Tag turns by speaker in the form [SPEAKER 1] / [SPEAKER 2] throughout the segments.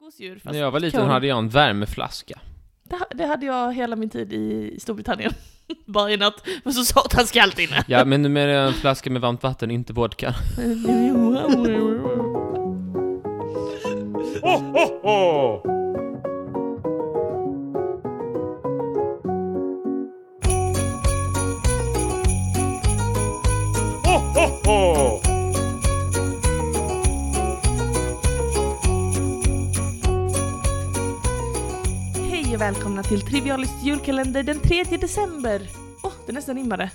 [SPEAKER 1] hos djur. Fast
[SPEAKER 2] När jag var liten
[SPEAKER 1] kul.
[SPEAKER 2] hade jag en värmeflaska.
[SPEAKER 1] det, ha- det hade jag hela min tid i Storbritannien. Bara i natt. Men så satans kallt inne.
[SPEAKER 2] Ja, men numera är jag en flaska med varmt vatten, inte vodka.
[SPEAKER 1] Hej och välkomna till Trivialist julkalender den 3 december. Åh, det nästan rimmade.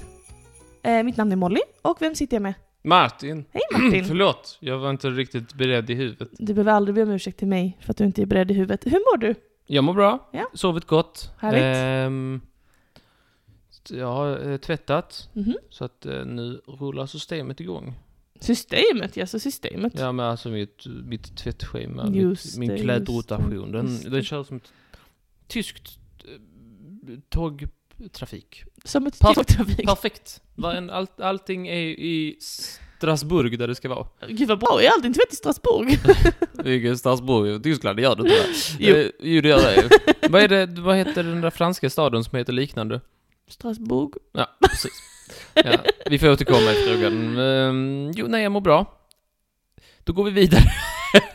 [SPEAKER 1] Eh, mitt namn är Molly och vem sitter jag med?
[SPEAKER 2] Martin,
[SPEAKER 1] Hej Martin!
[SPEAKER 2] förlåt. Jag var inte riktigt beredd i huvudet.
[SPEAKER 1] Du behöver aldrig be om ursäkt till mig för att du inte är beredd i huvudet. Hur mår du?
[SPEAKER 2] Jag mår bra.
[SPEAKER 1] Ja.
[SPEAKER 2] Sovit gott.
[SPEAKER 1] Härligt.
[SPEAKER 2] Ehm, jag har eh, tvättat,
[SPEAKER 1] Mhm.
[SPEAKER 2] så att eh, nu rullar systemet igång.
[SPEAKER 1] Systemet, ja så systemet.
[SPEAKER 2] Ja, men alltså mitt, mitt tvättschema,
[SPEAKER 1] Just
[SPEAKER 2] mitt, min
[SPEAKER 1] det, just
[SPEAKER 2] klädrotation,
[SPEAKER 1] det,
[SPEAKER 2] den,
[SPEAKER 1] just
[SPEAKER 2] den
[SPEAKER 1] det.
[SPEAKER 2] kör som ett tyskt eh, tågtrafik.
[SPEAKER 1] Som ett
[SPEAKER 2] Pass-
[SPEAKER 1] tågtrafik.
[SPEAKER 2] Perfekt! Varje- Allt, allting är i Strasbourg där det ska vara.
[SPEAKER 1] Gud vad bra, jag är alltid inte tvätt i Strasbourg.
[SPEAKER 2] Vilket Strasbourg? Tyskland, det gör det inte
[SPEAKER 1] Jo.
[SPEAKER 2] Jo, jo det Eh, gör det ju. vad, är det, vad heter den där franska staden som heter liknande?
[SPEAKER 1] Strasbourg.
[SPEAKER 2] Ja, precis. Ja, vi får återkomma i frågan. Ehm, jo, nej, jag mår bra. Då går vi vidare.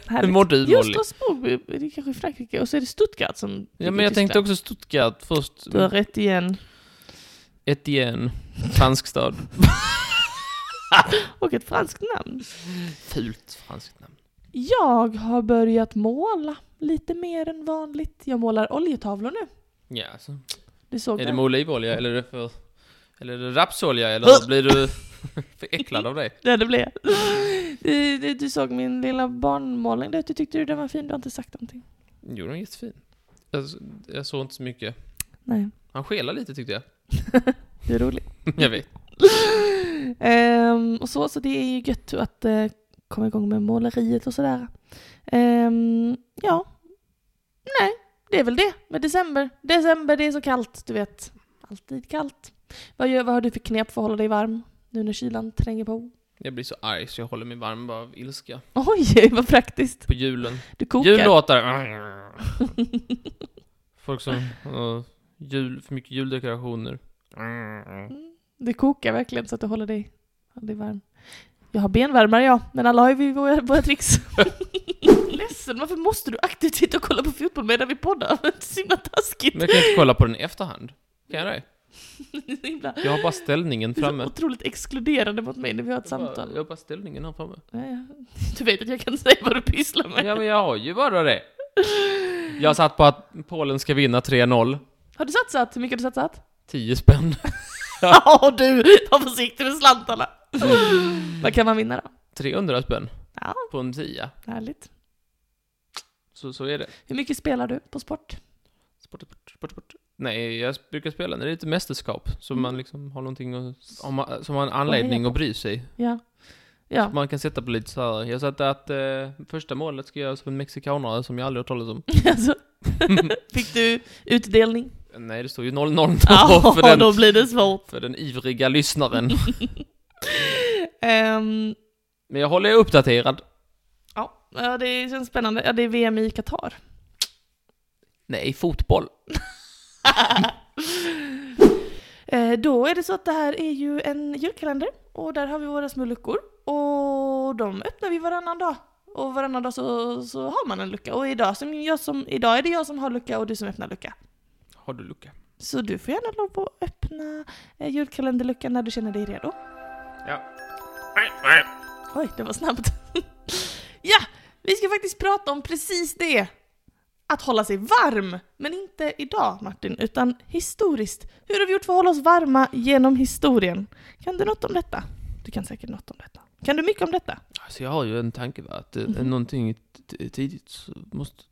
[SPEAKER 1] Härligt.
[SPEAKER 2] mår du,
[SPEAKER 1] Jo,
[SPEAKER 2] Molly?
[SPEAKER 1] Strasbourg, är det kanske i Frankrike. Och så är det Stuttgart som ligger
[SPEAKER 2] Ja,
[SPEAKER 1] i
[SPEAKER 2] men jag tänkte
[SPEAKER 1] Tyskland.
[SPEAKER 2] också Stuttgart först.
[SPEAKER 1] Du har rätt igen.
[SPEAKER 2] Etienne, fransk stad.
[SPEAKER 1] Och ett franskt namn.
[SPEAKER 2] Fult franskt namn.
[SPEAKER 1] Jag har börjat måla lite mer än vanligt. Jag målar oljetavlor nu.
[SPEAKER 2] Ja, alltså.
[SPEAKER 1] Du såg
[SPEAKER 2] Är det
[SPEAKER 1] den.
[SPEAKER 2] med olivolja eller är det för... Eller är det rapsolja eller blir du föräcklad av det?
[SPEAKER 1] Ja, det blev jag. Du, du, du såg min lilla barnmålning där. Du tyckte ju den var fin. Du har inte sagt någonting.
[SPEAKER 2] Jo, den är jättefin. Jag, jag såg inte så mycket.
[SPEAKER 1] Nej,
[SPEAKER 2] Han skelar lite tyckte jag.
[SPEAKER 1] du är rolig.
[SPEAKER 2] Jag vet.
[SPEAKER 1] Ehm, och så, så det är ju gött att eh, komma igång med måleriet och sådär. Ehm, ja. Nej, det är väl det med december. December, det är så kallt, du vet. Alltid kallt. Vad, gör, vad har du för knep för att hålla dig varm nu när kylan tränger på?
[SPEAKER 2] Jag blir så arg så jag håller mig varm bara av ilska.
[SPEAKER 1] Oj, vad praktiskt.
[SPEAKER 2] På julen.
[SPEAKER 1] Du kokar.
[SPEAKER 2] Jullåtar! Folk som... eh, jul, för mycket juldekorationer.
[SPEAKER 1] Mm, Du kokar verkligen så att du håller dig, håller dig varm. Jag har benvärmare jag, men alla har ju våra, våra tricks. Ledsen, varför måste du aktivt sitta och kolla på fotboll medan vi poddar? Det är så himla taskigt.
[SPEAKER 2] Men jag kan inte kolla på den i efterhand. Kan jag det?
[SPEAKER 1] Det är så himla-
[SPEAKER 2] Jag har bara ställningen
[SPEAKER 1] det är så
[SPEAKER 2] framme.
[SPEAKER 1] otroligt exkluderande mot mig när vi har ett
[SPEAKER 2] Jag har bara-
[SPEAKER 1] samtal.
[SPEAKER 2] jag har bara ställningen här framme.
[SPEAKER 1] Ja, ja. Du vet att jag kan säga vad du pysslar med.
[SPEAKER 2] Ja men jag har ju bara det. Jag satt på att Polen ska vinna 3-0.
[SPEAKER 1] Har du satsat? Hur mycket har du satsat?
[SPEAKER 2] 10 spänn.
[SPEAKER 1] Ja, du! Var försiktig med slantarna! vad kan man vinna då?
[SPEAKER 2] 300 spänn
[SPEAKER 1] Ja,
[SPEAKER 2] på en tia.
[SPEAKER 1] härligt.
[SPEAKER 2] Så, så är det.
[SPEAKER 1] Hur mycket spelar du på sport?
[SPEAKER 2] Sport, sport, sport, sport. Nej, jag brukar spela när det är lite mästerskap. Så
[SPEAKER 1] Mm.
[SPEAKER 2] man liksom har någonting att, om man, som har en anledning
[SPEAKER 1] heja
[SPEAKER 2] att bry sig.
[SPEAKER 1] Ja. Ja.
[SPEAKER 2] Man kan sätta på lite så här. Jag satte att eh, första målet ska göras av en mexikanare som jag aldrig har talat om.
[SPEAKER 1] Alltså, fick du utdelning?
[SPEAKER 2] Nej, det står ju 0-0 då
[SPEAKER 1] Ja,
[SPEAKER 2] för, den,
[SPEAKER 1] då blir det svårt.
[SPEAKER 2] för den ivriga lyssnaren.
[SPEAKER 1] Ehm,
[SPEAKER 2] Men jag håller er uppdaterad.
[SPEAKER 1] ja, ja, det känns spännande. Ja, det är VM i Qatar.
[SPEAKER 2] Nej, fotboll.
[SPEAKER 1] Eh, då är det så att det här är ju en julkalender och där har vi våra små luckor och de öppnar vi varannan dag. Och varannan dag så, så har man en lucka och idag, som jag som, idag är det jag som har lucka och du som öppnar lucka.
[SPEAKER 2] Har du lucka?
[SPEAKER 1] Så du får gärna lov att öppna eh, julkalenderluckan när du känner dig redo.
[SPEAKER 2] Ja.
[SPEAKER 1] Oj, det var snabbt. ja, vi ska faktiskt prata om precis det. Att hålla sig varm. Men inte idag Martin, utan historiskt. Hur har vi gjort för att hålla oss varma genom historien? Kan du något om detta? Du kan säkert något om detta. Kan du mycket om detta?
[SPEAKER 2] Alltså jag har ju en tanke va, att mm
[SPEAKER 1] Mhm.
[SPEAKER 2] någonting t- tidigt så måste...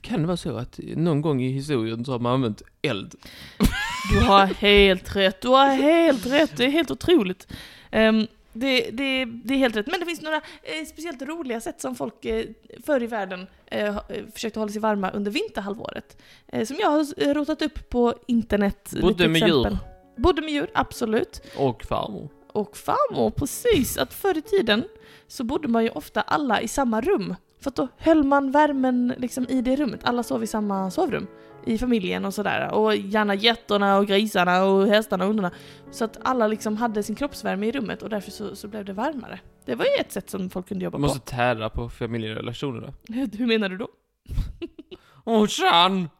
[SPEAKER 2] Kan det vara så att eh, någon gång i historien så har man använt eld?
[SPEAKER 1] Du har helt rätt, du har helt rätt, det är helt otroligt. Ehm, det, det, det är helt rätt, men det finns några eh, speciellt roliga sätt som folk eh, förr i världen eh, ha- eh, försökte hålla sig varma under vinterhalvåret. Eh, som jag har eh, rotat upp på internet. eh,
[SPEAKER 2] Bodde
[SPEAKER 1] lite
[SPEAKER 2] med
[SPEAKER 1] exempel.
[SPEAKER 2] djur.
[SPEAKER 1] Bodde med djur, absolut.
[SPEAKER 2] Och farmor.
[SPEAKER 1] Och farmor, precis. Att förr i tiden så bodde man ju ofta alla i samma rum. För att då höll man värmen liksom i det rummet. Alla sov i samma sovrum i familjen och sådär. Och gärna getterna och grisarna och hästarna och hundarna. Så att alla liksom hade sin kroppsvärme i rummet och därför så, så blev det varmare. Det var ju ett sätt som folk kunde jobba
[SPEAKER 2] Man måste tära på familjerelationerna.
[SPEAKER 1] på. Hur menar du då?
[SPEAKER 2] Åh, tjan!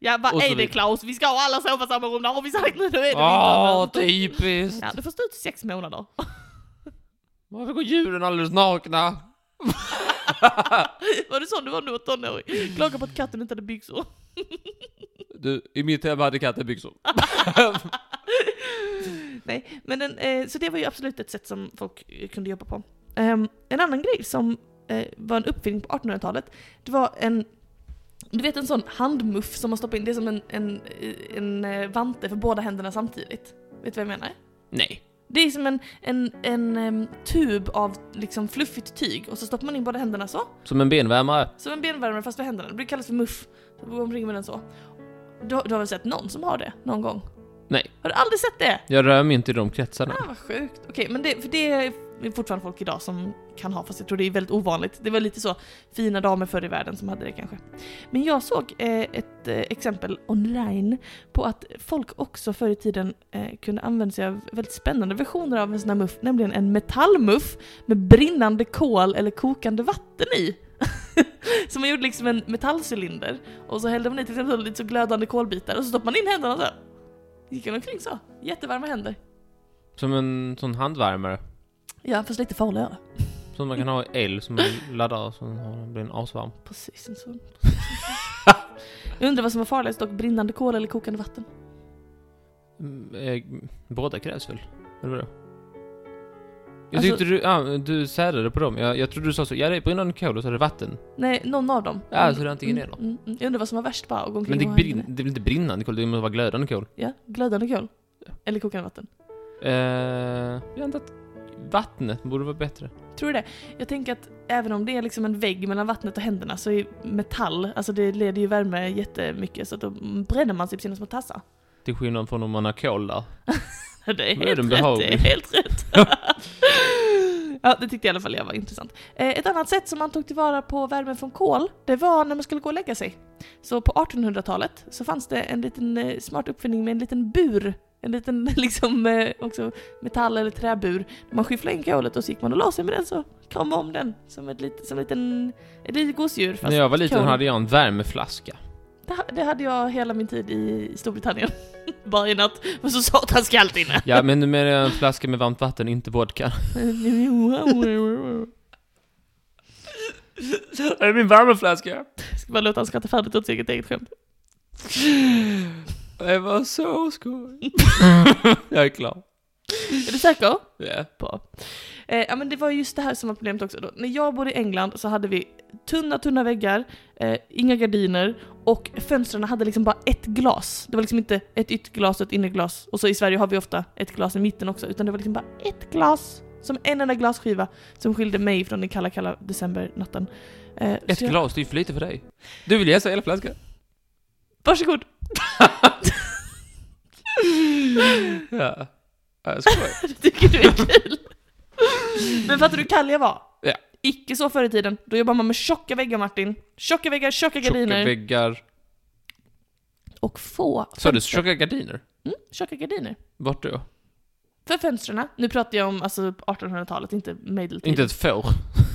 [SPEAKER 1] Jag bara,
[SPEAKER 2] Och så
[SPEAKER 1] är det
[SPEAKER 2] vidare.
[SPEAKER 1] Klaus, vi ska ha alla sova i samma rum, det har vi sagt nu, nu är det vinter."
[SPEAKER 2] Åh,
[SPEAKER 1] Men-
[SPEAKER 2] Ah, typ. typiskt!
[SPEAKER 1] Ja, du får stå ut i sex månader.
[SPEAKER 2] Varför går djuren alldeles nakna?
[SPEAKER 1] Var det så du var när du var tonåring? Klaga på att katten inte hade byxor.
[SPEAKER 2] Du, i mitt hem hade katten byxor.
[SPEAKER 1] Nej, men den, eh, så det var ju absolut ett sätt som folk eh, kunde jobba på. Ehm, en annan grej som eh, var en uppfinning på 1800-talet, det var en du vet en sån handmuff som man stoppar in, det är som en, en, eh, en eh, vante för båda händerna samtidigt. Vet du vad jag menar?
[SPEAKER 2] Nej.
[SPEAKER 1] Det är som en, en, en em, tub av liksom fluffigt tyg och så stoppar man in båda händerna så.
[SPEAKER 2] Som en benvärmare.
[SPEAKER 1] Som en benvärmare fast för händerna. Det brukar kallas för muff. Så går man omkring med den så. Du, har- du har väl sett någon som har det någon gång?
[SPEAKER 2] Nej.
[SPEAKER 1] Har du aldrig sett det?
[SPEAKER 2] Jag rör mig inte i de kretsarna.
[SPEAKER 1] Ah, vad sjukt. Okej, men det, för det är fortfarande folk idag som kan ha, fast jag tror det är väldigt ovanligt. Det var lite så fina damer förr i världen som hade det kanske. Men jag såg eh, ett eh, exempel online på att folk också förr i tiden eh, kunde använda sig av väldigt spännande versioner av en sån här muff, nämligen en metallmuff med brinnande kol eller kokande vatten i. så man gjorde liksom en metallcylinder och så hällde man i till exempel lite så glödande kolbitar och så stoppade man in händerna så. här. Gick man omkring så. Jättevarma händer.
[SPEAKER 2] Som en sån handvärmare.
[SPEAKER 1] Ja, fast lite farligare.
[SPEAKER 2] Som man kan ha i el som man laddar så den blir den asvarm.
[SPEAKER 1] Precis en sån. Jag undrar vad som var farligast dock, brinnande kol eller kokande vatten?
[SPEAKER 2] Mm, eh, Båda krävs väl? Eller vadå? Jag
[SPEAKER 1] Alltså-
[SPEAKER 2] tyckte du, ja, du särade på dem. Jag, jag trodde du sa så, ja det är brinnande kol och så är det vatten.
[SPEAKER 1] Nej, någon av dem.
[SPEAKER 2] Ja, så det är antingen
[SPEAKER 1] mm,
[SPEAKER 2] det då.
[SPEAKER 1] mm, mm. Jag undrar vad som var värst bara, att gå omkring
[SPEAKER 2] Men det,
[SPEAKER 1] och ha
[SPEAKER 2] brin,
[SPEAKER 1] händerna.
[SPEAKER 2] det är väl inte brinnande kol, det måste vara glödande kol?
[SPEAKER 1] Ja, glödande kol. Eller kokande vatten.
[SPEAKER 2] Eh, jag antar att vattnet borde vara bättre.
[SPEAKER 1] Tror du det? Jag tänker att även om det är liksom en vägg mellan vattnet och händerna så är metall, alltså det leder ju värme jättemycket så att då bränner man sig på sina små tassar.
[SPEAKER 2] Till skillnad från om man har kol där.
[SPEAKER 1] Det är
[SPEAKER 2] Då är
[SPEAKER 1] helt rätt,
[SPEAKER 2] den
[SPEAKER 1] det är
[SPEAKER 2] behaglig.
[SPEAKER 1] helt rätt. ja, det tyckte i alla fall jag var intressant. Eh, Ett annat sätt som man tog tillvara på värmen från kol, det var när man skulle gå och lägga sig. Så på 1800-talet så fanns det en liten eh, smart uppfinning med en liten bur. En liten liksom eh, också metall eller träbur. Man skyfflade in kolet och så gick man och la sig med den så kramade om den som ett litet, som en liten, ett litet gosedjur. Fast
[SPEAKER 2] När jag var liten
[SPEAKER 1] kol.
[SPEAKER 2] hade jag en värmeflaska.
[SPEAKER 1] det, ha- det hade jag hela min tid i Storbritannien. Varje natt var så satans kallt inne.
[SPEAKER 2] Ja, men nu menar jag en flaska med varmt vatten, inte vodka. Det är min värmeflaska!
[SPEAKER 1] Ska bara låta han skratta färdigt åt sitt eget skämt.
[SPEAKER 2] Det var så skoj! jag är klar.
[SPEAKER 1] Är du säker?
[SPEAKER 2] Ja.
[SPEAKER 1] På. Eh, ja men det var just det här som var problemet också då. När jag bodde i England så hade vi tunna, tunna väggar, eh, inga gardiner och fönstren hade liksom bara ett glas. Det var liksom inte ett ytterglas och ett innerglas. Och så i Sverige har vi ofta ett glas i mitten också, utan det var liksom bara ett glas. Som en enda glasskiva som skilde mig från den kalla, kalla decembernatten. Eh,
[SPEAKER 2] Ett
[SPEAKER 1] så jag-
[SPEAKER 2] glas, det är ju för lite för dig. Du vill jäsa hela flaskan.
[SPEAKER 1] Varsågod!
[SPEAKER 2] Ja. Ja, Jag skojar.
[SPEAKER 1] tycker du är kul. Men fattar du hur kall jag var?
[SPEAKER 2] Ja.
[SPEAKER 1] Icke så förr i tiden. Då jobbar man med tjocka väggar Martin. Tjocka väggar, tjocka gardiner.
[SPEAKER 2] Tjocka väggar.
[SPEAKER 1] och få
[SPEAKER 2] Sa du
[SPEAKER 1] fönster.
[SPEAKER 2] tjocka gardiner?
[SPEAKER 1] Mm, tjocka gardiner.
[SPEAKER 2] Vart då?
[SPEAKER 1] För fönstren. Nu pratar jag om alltså 1800-talet, inte medeltiden.
[SPEAKER 2] Inte ett får.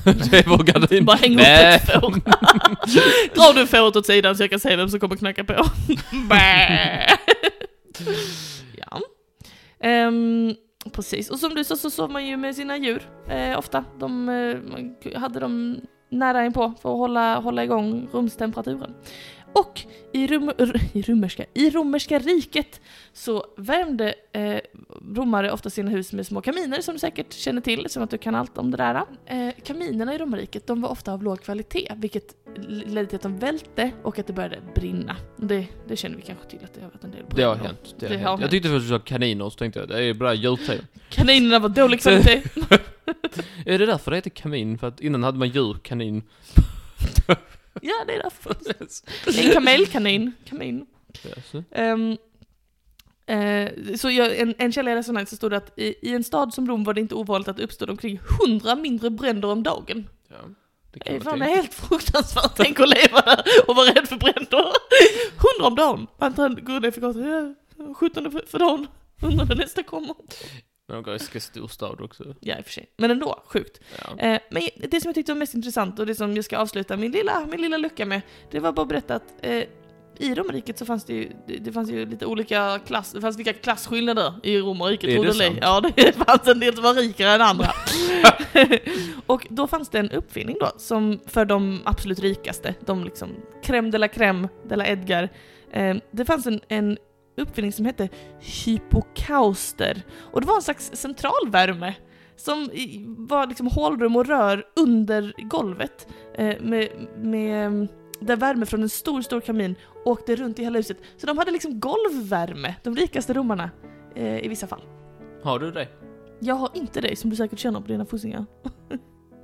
[SPEAKER 2] det är vår gardin.
[SPEAKER 1] Bara häng upp
[SPEAKER 2] Nej.
[SPEAKER 1] ett får. Dra du fåret åt sidan så jag kan se vem som kommer knacka på. Bä. ja. Ehm, precis, och som du sa så sov man ju med sina djur eh, ofta. De eh, man k- hade dem nära inpå för att hålla, hålla igång rumstemperaturen. Och i, rum, r- i, romerska, i romerska riket så värmde eh, romare ofta sina hus med små kaminer som du säkert känner till, som att du kan allt om det där. Eh, kaminerna i romarriket de var ofta av låg kvalitet, vilket l- ledde till att de välte och att det började brinna. Och Det, det känner vi kanske till att det har varit en del
[SPEAKER 2] Det har
[SPEAKER 1] bränder om.
[SPEAKER 2] hänt. Det har
[SPEAKER 1] Det har
[SPEAKER 2] hänt.
[SPEAKER 1] hänt.
[SPEAKER 2] Jag tyckte först du sa kaniner, så tänkte jag det är bara djurteam.
[SPEAKER 1] Kaninerna var dålig kvalitet.
[SPEAKER 2] Är det därför det heter kamin? För att innan hade man djur, kanin.
[SPEAKER 1] ja, det är därför. En kamelkanin. Kamin.
[SPEAKER 2] Ja, så.
[SPEAKER 1] Ehm, Eh, så jag, en, en källa jag resonerade så stod det att i, i en stad som Rom var det inte ovanligt att det uppstod omkring 100 mindre bränder om dagen.
[SPEAKER 2] Ja, det
[SPEAKER 1] Det är
[SPEAKER 2] vara
[SPEAKER 1] fan
[SPEAKER 2] tänkt.
[SPEAKER 1] helt fruktansvärt, tänk att leva där och vara rädd för bränder. 100 om dagen. Man tar en gurka för gatan, ja, 17 för, för dagen, 100 när nästa kommer.
[SPEAKER 2] Men de går i ganska stor stad också.
[SPEAKER 1] Ja, i och för sig. Men ändå, sjukt.
[SPEAKER 2] Ja.
[SPEAKER 1] Eh, Men det som jag tyckte var mest intressant och det som jag ska avsluta min lilla, min lilla lucka med, det var bara att berätta att eh, i romarriket så fanns det ju, det, det fanns ju lite olika klass, det fanns vilka klasskillnader i romarriket,
[SPEAKER 2] Är
[SPEAKER 1] tror
[SPEAKER 2] det
[SPEAKER 1] du eller
[SPEAKER 2] sant?
[SPEAKER 1] Ja, det fanns en del som var rikare än andra. och då fanns det en uppfinning då, som för de absolut rikaste, de liksom crème de la crème, de la Edgar, eh, det fanns en, en uppfinning som hette hypokauster. Och det var en slags centralvärme som i- var liksom hålrum och rör under golvet eh, med, med, där värme från en stor, stor kamin åkte runt i hela huset. Så de hade liksom golvvärme, de rikaste romarna, eh, i vissa fall.
[SPEAKER 2] Har du det?
[SPEAKER 1] Jag har inte dig som du säkert känner på dina fossingar.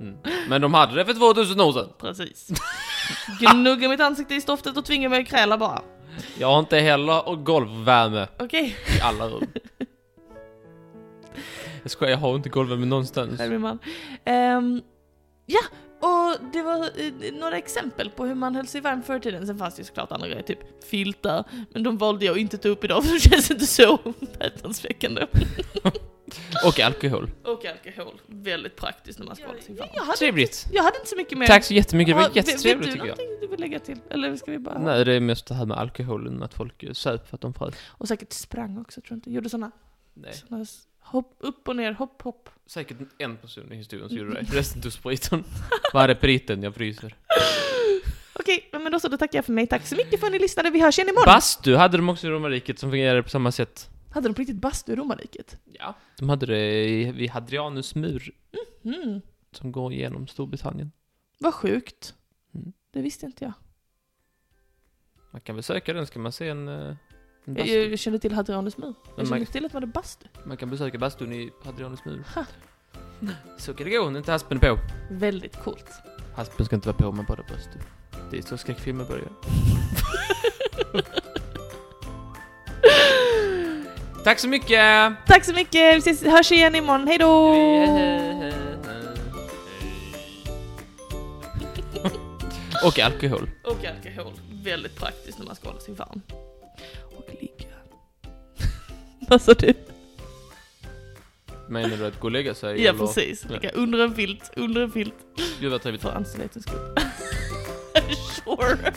[SPEAKER 2] Mm. Men de hade det för 2000 år sedan.
[SPEAKER 1] Precis. Gnugga mitt ansikte i stoftet och tvinga mig att kräla bara.
[SPEAKER 2] Jag har inte heller och golvvärme
[SPEAKER 1] Okej,
[SPEAKER 2] i alla rum. jag skojar, jag har inte golvvärme någonstans.
[SPEAKER 1] där blir man. Ehm, ja, och det var eh, några exempel på hur man höll sig varm förr i tiden. Sen fanns det ju såklart andra grejer, typ filtar. Men de valde jag att inte ta upp idag för det känns inte så häpnadsväckande.
[SPEAKER 2] Och alkohol.
[SPEAKER 1] Och alkohol. Väldigt praktiskt när man ska hålla sig varm.
[SPEAKER 2] Trevligt.
[SPEAKER 1] Jag hade inte så mycket mer.
[SPEAKER 2] Tack så jättemycket, det
[SPEAKER 1] typ Ja,
[SPEAKER 2] var
[SPEAKER 1] vet-
[SPEAKER 2] jättetrevligt
[SPEAKER 1] vet
[SPEAKER 2] tycker
[SPEAKER 1] du
[SPEAKER 2] jag.
[SPEAKER 1] någonting du vill lägga till? Eller ska vi bara...
[SPEAKER 2] Nej, det är mest det här med alkoholen, att folk eh, söp för att de frös.
[SPEAKER 1] Och säkert sprang också, tror jag inte. Gjorde såna,
[SPEAKER 2] Nej.
[SPEAKER 1] såna s- hopp upp och ner, hopp, hopp.
[SPEAKER 2] Säkert en person i historien som gjorde det. Resten tog spriten. Var är spriten? Jag fryser.
[SPEAKER 1] Okej, men då så, då tackar jag för mig. Tack så mycket för att ni lyssnade. Vi hörs igen imorgon.
[SPEAKER 2] Bastu hade de också i romarriket som fungerade på samma sätt.
[SPEAKER 1] hade de på riktigt bastu i romarriket?
[SPEAKER 2] Ja. De hade det i- vid Hadrianus mur
[SPEAKER 1] Mm,
[SPEAKER 2] som går genom Storbritannien.
[SPEAKER 1] vad sjukt.
[SPEAKER 2] Mm.
[SPEAKER 1] Det visste inte jag.
[SPEAKER 2] Man kan väl söka den, ska man se en, eh, en
[SPEAKER 1] Jag,
[SPEAKER 2] bastu.
[SPEAKER 1] jag kände till Hadrianus mur. Jag
[SPEAKER 2] Men
[SPEAKER 1] kände
[SPEAKER 2] man,
[SPEAKER 1] till att man hade bastu.
[SPEAKER 2] man kan besöka bastun i Hadrianus mur.
[SPEAKER 1] Ha.
[SPEAKER 2] Så kan det gå, inte haspen på.
[SPEAKER 1] Väldigt coolt.
[SPEAKER 2] Haspen ska inte vara på, man bara bastu. Det är så skräckfilmer börjar. Tack så mycket!
[SPEAKER 1] Tack så mycket, vi ses, hörs igen imorgon. Hej då!
[SPEAKER 2] Och alkohol.
[SPEAKER 1] Och alkohol. Väldigt praktiskt när man ska hålla sig varm. Och ligga. Vad sa du?
[SPEAKER 2] Menar du att gå och lägga sig?
[SPEAKER 1] Ja
[SPEAKER 2] eller?
[SPEAKER 1] precis.
[SPEAKER 2] Ja.
[SPEAKER 1] Ligga under en filt, under en filt.
[SPEAKER 2] Gud vad trevligt.
[SPEAKER 1] För anständighetens skull. sure.